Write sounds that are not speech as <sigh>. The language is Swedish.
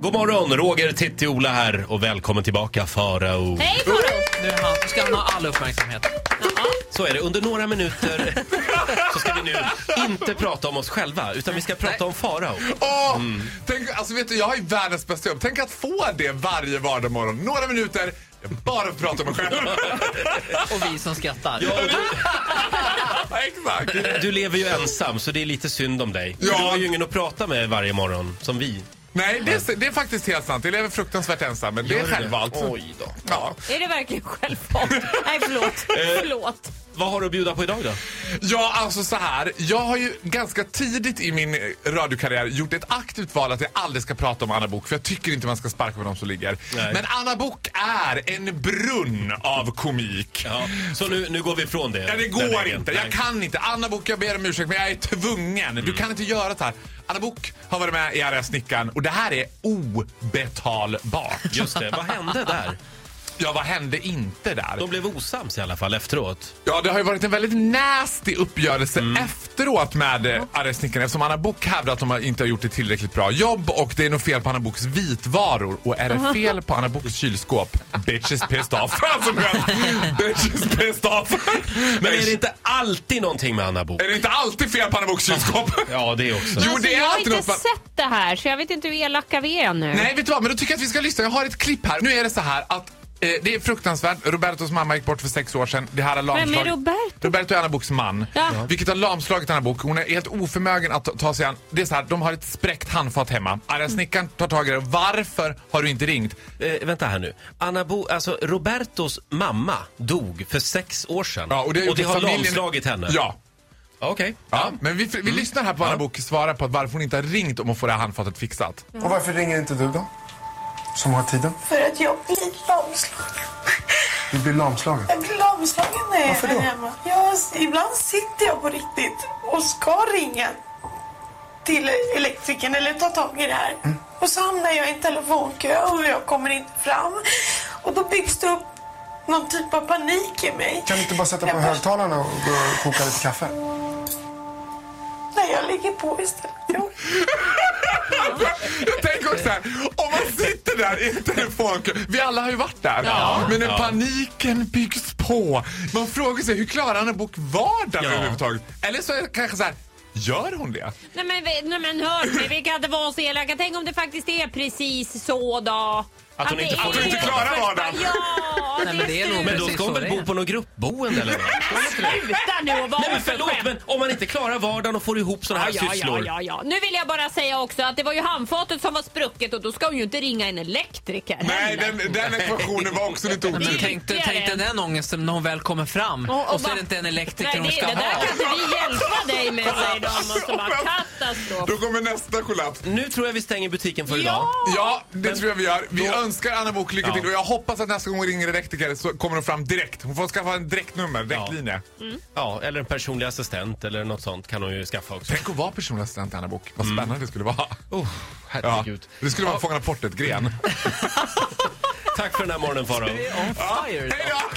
God morgon, Roger, Titti, Ola här och välkommen tillbaka Farao. Hej Farao! Nu är han, ska han ha all uppmärksamhet. Så är det, under några minuter så ska vi nu inte prata om oss själva utan vi ska prata om Farao. Åh! Tänk, alltså vet du, jag har ju världens bästa jobb. Tänk att få det varje vardagsmorgon. Några minuter, jag bara får prata om mig själv. <laughs> Och vi som skrattar. Exakt. Du lever ju ensam så det är lite synd om dig. Ja. Du har ju ingen att prata med varje morgon som vi. Nej, det är, det är faktiskt helt sant. Jag lever fruktansvärt ensam, men det är Gör du det? självvalt. Oj då. Ja. Är det verkligen självvalt? Nej, förlåt. förlåt. Vad har du att bjuda på idag då? ja, alltså så här. Jag har ju ganska tidigt i min eh, radiokarriär gjort ett aktivt val att jag aldrig ska prata om Anna Bok för jag tycker inte man ska sparka på dem som ligger. Nej. Men Anna Bok är en brunn av komik. Ja. Så nu, nu går vi ifrån det. Ja, det Den går regeln. inte. Nej. Jag kan inte. Anna Bok, jag ber om ursäkt, men jag är tvungen. Du kan inte göra så här. Anna Bok har varit med i Arga snickaren och det här är obetalbart. Just det, vad hände där? Ja, vad hände inte där? De blev osams i alla fall efteråt. Ja, det har ju varit en väldigt nasty uppgörelse Mm. efteråt med eh, Arga snickaren eftersom Anna Bok hävdar att de har- inte har gjort ett tillräckligt bra jobb och det är nog fel på Anna Boks vitvaror och är det fel på Anna Boks kylskåp, bitch is pissed off. <laughs> Alltså, men, bitch is pissed off. Men är det inte alltid någonting med Anna Bok? är det inte alltid fel på Anna Boks kylskåp? Ja, det också. Jo, Alltså, det är jag har alltid inte något man- sett det här, så jag vet inte hur elaka vi är nu. Nej, vet du vad? Men då tycker jag att vi ska lyssna. Jag har ett klipp här. Nu är det så här att eh, det är fruktansvärt. Robertos mamma gick bort för sex år sedan. Det här har lamslagit... Roberto? Roberto är Anna Boks man. Ja. Vilket har lamslagit Anna Bok. Hon är helt oförmögen att ta- ta sig an. Det är så här, de har ett spräckt handfat hemma. Mm. Arga snickaren tar tag i det. Varför har du inte ringt? Eh, vänta här nu. Anna Bo, alltså Robertos mamma dog för sex år sedan. Ja, och det, har gjort att har familjen- lamslagit henne? Ja. Okej. Ja, men vi, vi lyssnar här på Anna Bok svara på varför hon inte har ringt om att få det här handfatet fixat. Och varför ringer inte du då? Som har tiden? För att jag blir lamslagen. Du blir lamslagen. Jag blir lamslagen när jag Varför då? är hemma. Jag, ibland sitter jag på riktigt och ska ringa till elektrikern eller ta tag i det här. Mm. Och så hamnar jag i en telefonkö och jag kommer inte fram. Och då byggs det upp någon typ av panik i mig. Kan du inte bara sätta på Jag bara- högtalarna och gå och koka lite kaffe? Nej, jag ligger på istället. Jag Tänk också här, om man sitter där i en telefonkö. Vi alla har ju varit där. Men när paniken byggs på. Man frågar sig hur klarar Anna Bok vardagen Ja. överhuvudtaget? Eller så är det kanske så här, gör hon det? Nej men, vi- nej, men hörni, vi kan inte vara så elaka. Tänk om det faktiskt är precis så då. Att hon inte det får- är att hon inte helt klarar för- vardagen. Ja, Nej, men det är nog- surt. Men då Precis ska hon så väl det bo är. på något gruppboende eller något? <laughs> Sluta nu och vara Nej men förlåt oförskämd. men om man inte klarar vardagen och får ihop såna här Ja, ja, sysslor. ja, ja. Nu vill jag bara säga också att det var ju handfatet som var sprucket och då ska hon ju inte ringa en elektriker Nej, heller. den, den ekvationen var också lite Men otydlig. tänk, dig- tänk dig den ångesten när hon väl kommer fram och, så bara- är det inte en Nej, elektriker hon det, ska det där ha. kan inte vi hjälpa dig med säger de och så bara katastrof. Då kommer nästa kollaps. Nu tror jag vi stänger butiken för idag. Ja! Ja, det tror jag vi gör. Vi önskar Anna Bok lycka Ja. till och jag hoppas att nästa gång hon ringer elektriker så kommer hon fram direkt. Hon får skaffa en direktnummer, direktlinje. Ja, eller en personlig assistent eller något sånt kan hon ju skaffa också. Tänk att vara personlig assistent till Anna Bok. Vad spännande det skulle vara. Oh, Ja. herregud. Det skulle vara Fångarna på portet-gren. Tack för den här morgonen <laughs> Farao. On fire. Hej då!